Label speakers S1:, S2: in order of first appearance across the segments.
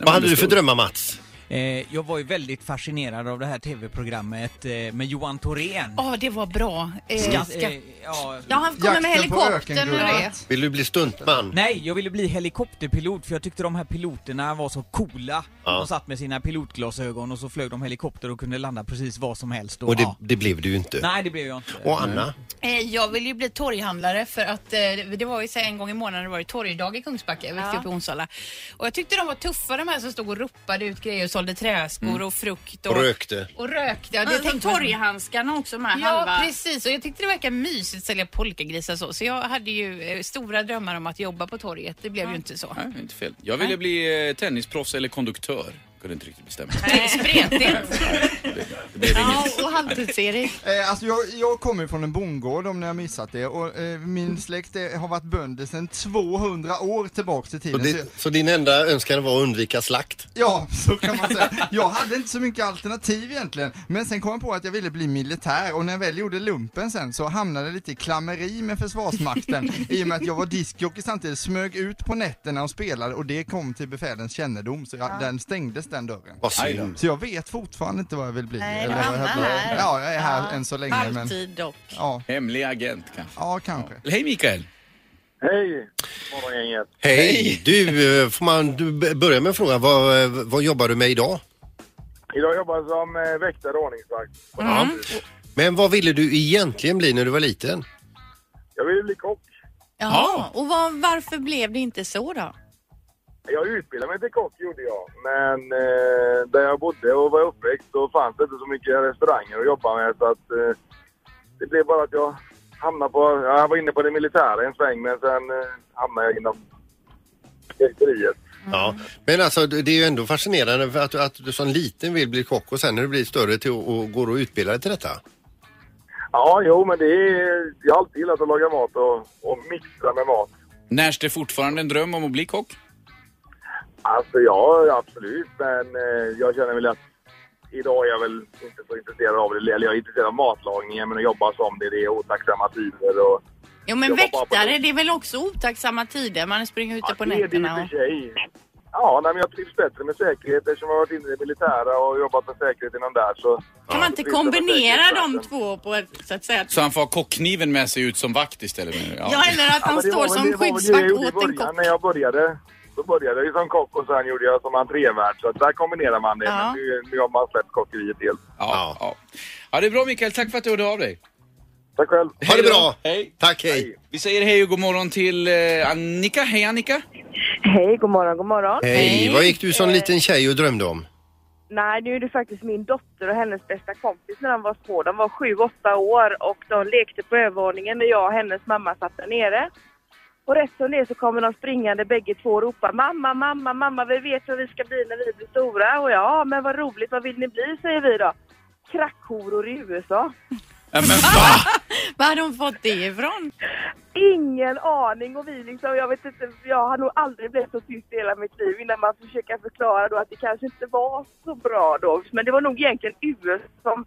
S1: Vad hade du för drömmar Mats?
S2: Eh, jag var ju väldigt fascinerad av det här tv-programmet eh, med Johan Thorén.
S3: Ja, det var bra. Eh,
S2: Eh,
S3: Skaska.
S2: ja.
S3: Ja, han kommer med
S4: Jakten på
S3: helikoptern och det.
S4: ökengullet.
S1: Vill du bli stuntman?
S2: Nej, jag ville bli helikopterpilot för jag tyckte de här piloterna var så coola.
S1: Ja.
S2: De satt med sina pilotglasögon och så flög de helikopter och kunde landa precis var som helst. Och,
S1: Och det,
S2: ja.
S1: det blev du ju inte.
S2: Nej, det blev jag inte.
S1: Och Anna?
S3: Eh, Jag vill ju bli torghandlare för att eh, det var ju så här en gång i månaden det var det torgdag i Kungsbacka, jag växte upp i Onsala. Och jag tyckte de var tuffa de här som stod och ropade ut grejer och sålde träskor
S4: Mm.
S3: och frukt och,
S1: Och rökte.
S3: Och rökte. Ja, det
S5: Jag
S3: tänkte
S5: tänkte
S3: man-
S5: torghandskarna också med halva.
S3: Ja, precis. Och jag tyckte det verkade mysigt att sälja polkagrisar så. Så jag hade ju eh, stora drömmar om att jobba på torget. Det blev ju inte så.
S6: Nej, inte fel. Jag ville bli eh, tennisproffs eller konduktör. Kunde inte riktigt bestämma.
S3: Det är Spretigt.
S6: Det blev
S3: Ja,
S6: inget.
S3: och halvtids-Erik.
S4: Eh, alltså jag, jag kommer från en bondgård om ni har missat det och eh, min släkt eh, har varit bönder sedan 200 år tillbaks i
S1: Så,
S4: tiden. Så,
S1: det, så din enda önskan var att undvika slakt?
S4: ja, så kan man säga. Jag hade inte så mycket alternativ egentligen. Men sen kom jag på att jag ville bli militär och när jag väl gjorde lumpen sen så hamnade jag lite i klammeri med Försvarsmakten i och med att jag var diskjockey samtidigt, smög ut på nätterna och spelade och det kom till befälens kännedom så jag, den stängdes den dörren.
S1: Vad
S6: Aj då.
S1: synd.
S4: Så jag vet fortfarande inte vad jag vill bli.
S5: Nej,
S4: eller
S5: du
S4: vad jag
S5: hamnar
S4: blir.
S5: här.
S4: Ja, jag är här än så länge. Men,
S5: Halvtid dock.
S4: ja,
S6: Hemlig agent kanske.
S4: ja, kanske.
S6: Hej Mikael!
S7: Hej, morgongänget.
S1: Hej! Du, eh, får man du b- börja med en fråga. Vad, eh, vad jobbar du med idag?
S7: Idag jobbar jag som eh, väktare och ordningsvakt. på Danderyd.
S1: Men vad ville du egentligen bli när du var liten?
S7: Jag vill bli kock.
S5: Ja, och vad- varför blev det inte så då?
S7: Jag utbildade mig till kock gjorde jag. Men eh, där jag bodde och var uppväxt så fanns det inte så mycket restauranger att jobba med. Så att, eh, det blev bara att jag hamnade på, ja, jag var inne på det militära en sväng men sen eh, hamnade jag inom väkteriet.
S1: Ja. Men alltså det det är ju ändå fascinerande för att, du- att du som liten vill bli kock och sen när du blir större till och, och går och utbildar dig till detta.
S7: Ja, jo men det är, jag har alltid gillat att laga mat och, och mixa med mat.
S6: Närs det fortfarande en dröm om att bli kock?
S7: Alltså ja, absolut. Men eh, jag känner väl att idag är jag väl inte så intresserad av det. Eller jag är intresserad av matlagningen, men att jobba som det, det är otacksamma tider. Och,
S5: Jo men
S7: Jag var bara på
S5: väktare,
S7: det.
S5: det är väl också otacksamma tider? Man springer ute
S7: ja,
S5: på
S7: det är det i och
S5: nätterna
S7: för
S5: och...
S7: sig. Ja, nej, men jag trivs bättre med säkerhet eftersom jag har varit inne i det militära och jobbat med säkerhet inom där. Så,
S5: Kan man inte
S7: trivs jag med
S5: kombinera de
S7: säkerhetsvakten.
S5: två på ett, så att säga?
S6: Så han får ha kockkniven med sig ut som vakt istället? menar du?
S5: Ja, eller att
S7: Ja,
S5: han
S7: men det var
S5: står
S7: väl-
S5: som
S7: det var väl det jag
S5: skyddsvakt
S7: gjorde i
S5: åt en
S7: början
S5: kock.
S7: När jag började, då började jag ju som kock och sen gjorde jag som entrévärd. Så att där kombinerar man det.
S5: Ja.
S7: Men nu, nu har man släppt kockeriet helt.
S6: Ja, ja. ja, det är bra Mikael. Tack för att du hörde av dig.
S7: Tack själv.
S1: Ha det
S6: Hej då.
S1: bra!
S6: Hej.
S1: Tack, hej!
S6: Vi säger hej och god morgon till eh, Annika. Hej Annika!
S8: Hej, god morgon, god morgon.
S1: Hej! Vad gick du som liten tjej och drömde om?
S8: Nej, nu är det faktiskt min dotter och hennes bästa kompis när de var små. De var sju, åtta år och de lekte på övervåningen när jag och hennes mamma satt där nere. Och rätt som det är så kommer de springande bägge två och ropar mamma, mamma, mamma, vi vet vad vi ska bli när vi blir stora. Och ja, men vad roligt, vad vill ni bli, säger vi då. Krackhoror i USA.
S6: Ja, men va?
S5: Var har de fått det ifrån?
S8: Ingen aning och vi liksom, jag vet inte, jag har nog aldrig blivit så tyst i hela mitt liv innan man försöker förklara då att det kanske inte var så bra då. Men det var nog egentligen US som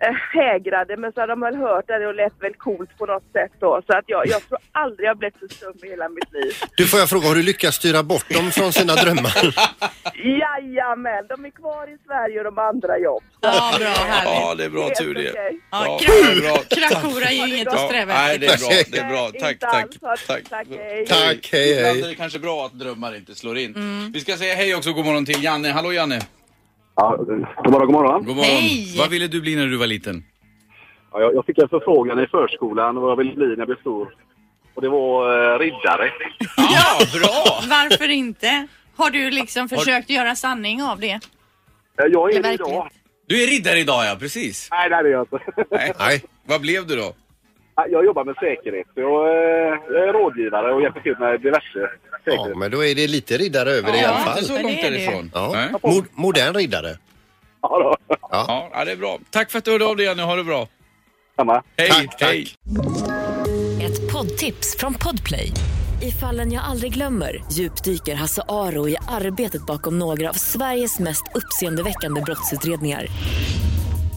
S8: eh, hägrade men så hade de väl hört det och lät väl coolt på något sätt då. Så att jag, jag tror aldrig jag blivit så stum i hela mitt liv.
S1: Du får jag fråga, har du lyckats styra bort dem från sina drömmar?
S8: Jajamän, de är kvar i Sverige och de har andra jobb.
S5: Ja, bra, härligt.
S6: Ja, det är bra
S8: Helt
S6: tur det.
S8: okej.
S6: Ja,
S5: Ja,
S6: det är bra.
S5: krack, krackhora är ju inget att
S6: Ja,
S5: sträva
S6: nej, det
S5: efter.
S6: är bra. Det är bra.
S8: Nej,
S6: Tack,
S8: inte
S6: tack.
S8: alls. Ha-
S6: tack.
S8: tack, hej.
S1: Tack, hej, hej.
S6: Ibland är det kanske bra att drömmar inte slår in.
S5: Mm.
S6: Vi ska säga hej också och god morgon till Janne. Hallå Janne!
S7: Ja, god morgon, god morgon.
S6: God morgon.
S5: Hej.
S6: Vad ville du bli när du var liten?
S7: Ja, jag, jag fick en förfrågan i förskolan vad jag ville bli när jag blev stor. Och det var eh, riddare.
S6: Ja, bra!
S5: Varför inte? Har du liksom försökt göra sanning av det?
S7: Eh, Jag är
S5: Det
S7: det
S5: är
S7: idag.
S5: verkligt.
S6: Du är riddare idag ja, precis.
S7: Nej, nej, det är jag inte.
S6: Nej.
S1: Nej.
S6: Vad blev du då?
S7: Ja, jag jobbar med säkerhet. Så Jag, eh, jag är rådgivare och hjälper till med diverse
S1: Ja,
S7: säkerhet.
S1: men då är det lite riddare över det i
S5: Ja,
S1: alla
S6: Inte
S1: fall.
S6: så
S5: Men
S6: långt
S5: det är det.
S6: därifrån.
S1: Ja.
S6: Nej.
S1: Mo- modern riddare.
S7: Ja, då.
S6: Ja, ja, det är bra. Tack för att du hörde av dig Janne. Ha det bra.
S7: Samma.
S6: Hej,
S1: Tack, tack.
S6: hej.
S9: Ett poddtips från Podplay. I fallen jag aldrig glömmer djupdyker Hasse Aro i arbetet bakom några av Sveriges mest uppseendeväckande brottsutredningar.